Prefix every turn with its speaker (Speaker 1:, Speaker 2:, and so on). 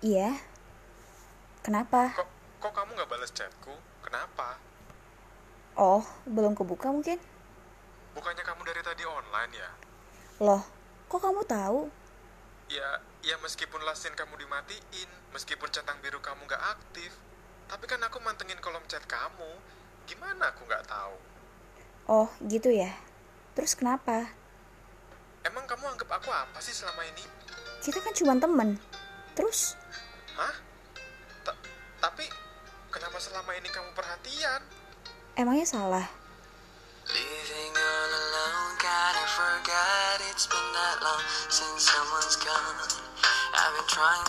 Speaker 1: Iya. Kenapa?
Speaker 2: Kok, kok kamu nggak balas chatku? Kenapa?
Speaker 1: Oh, belum kebuka mungkin?
Speaker 2: Bukannya kamu dari tadi online ya?
Speaker 1: Loh, kok kamu tahu?
Speaker 2: Ya, ya meskipun lasin kamu dimatiin, meskipun centang biru kamu nggak aktif, tapi kan aku mantengin kolom chat kamu. Gimana aku nggak tahu?
Speaker 1: Oh, gitu ya. Terus kenapa?
Speaker 2: Emang kamu anggap aku apa sih selama ini?
Speaker 1: Kita kan cuma temen. Terus?
Speaker 2: Hah? Ta- tapi kenapa selama ini kamu perhatian?
Speaker 1: Emangnya salah?
Speaker 3: Leaving all alone, kinda forgot it's been that long since someone's gone. I've been trying.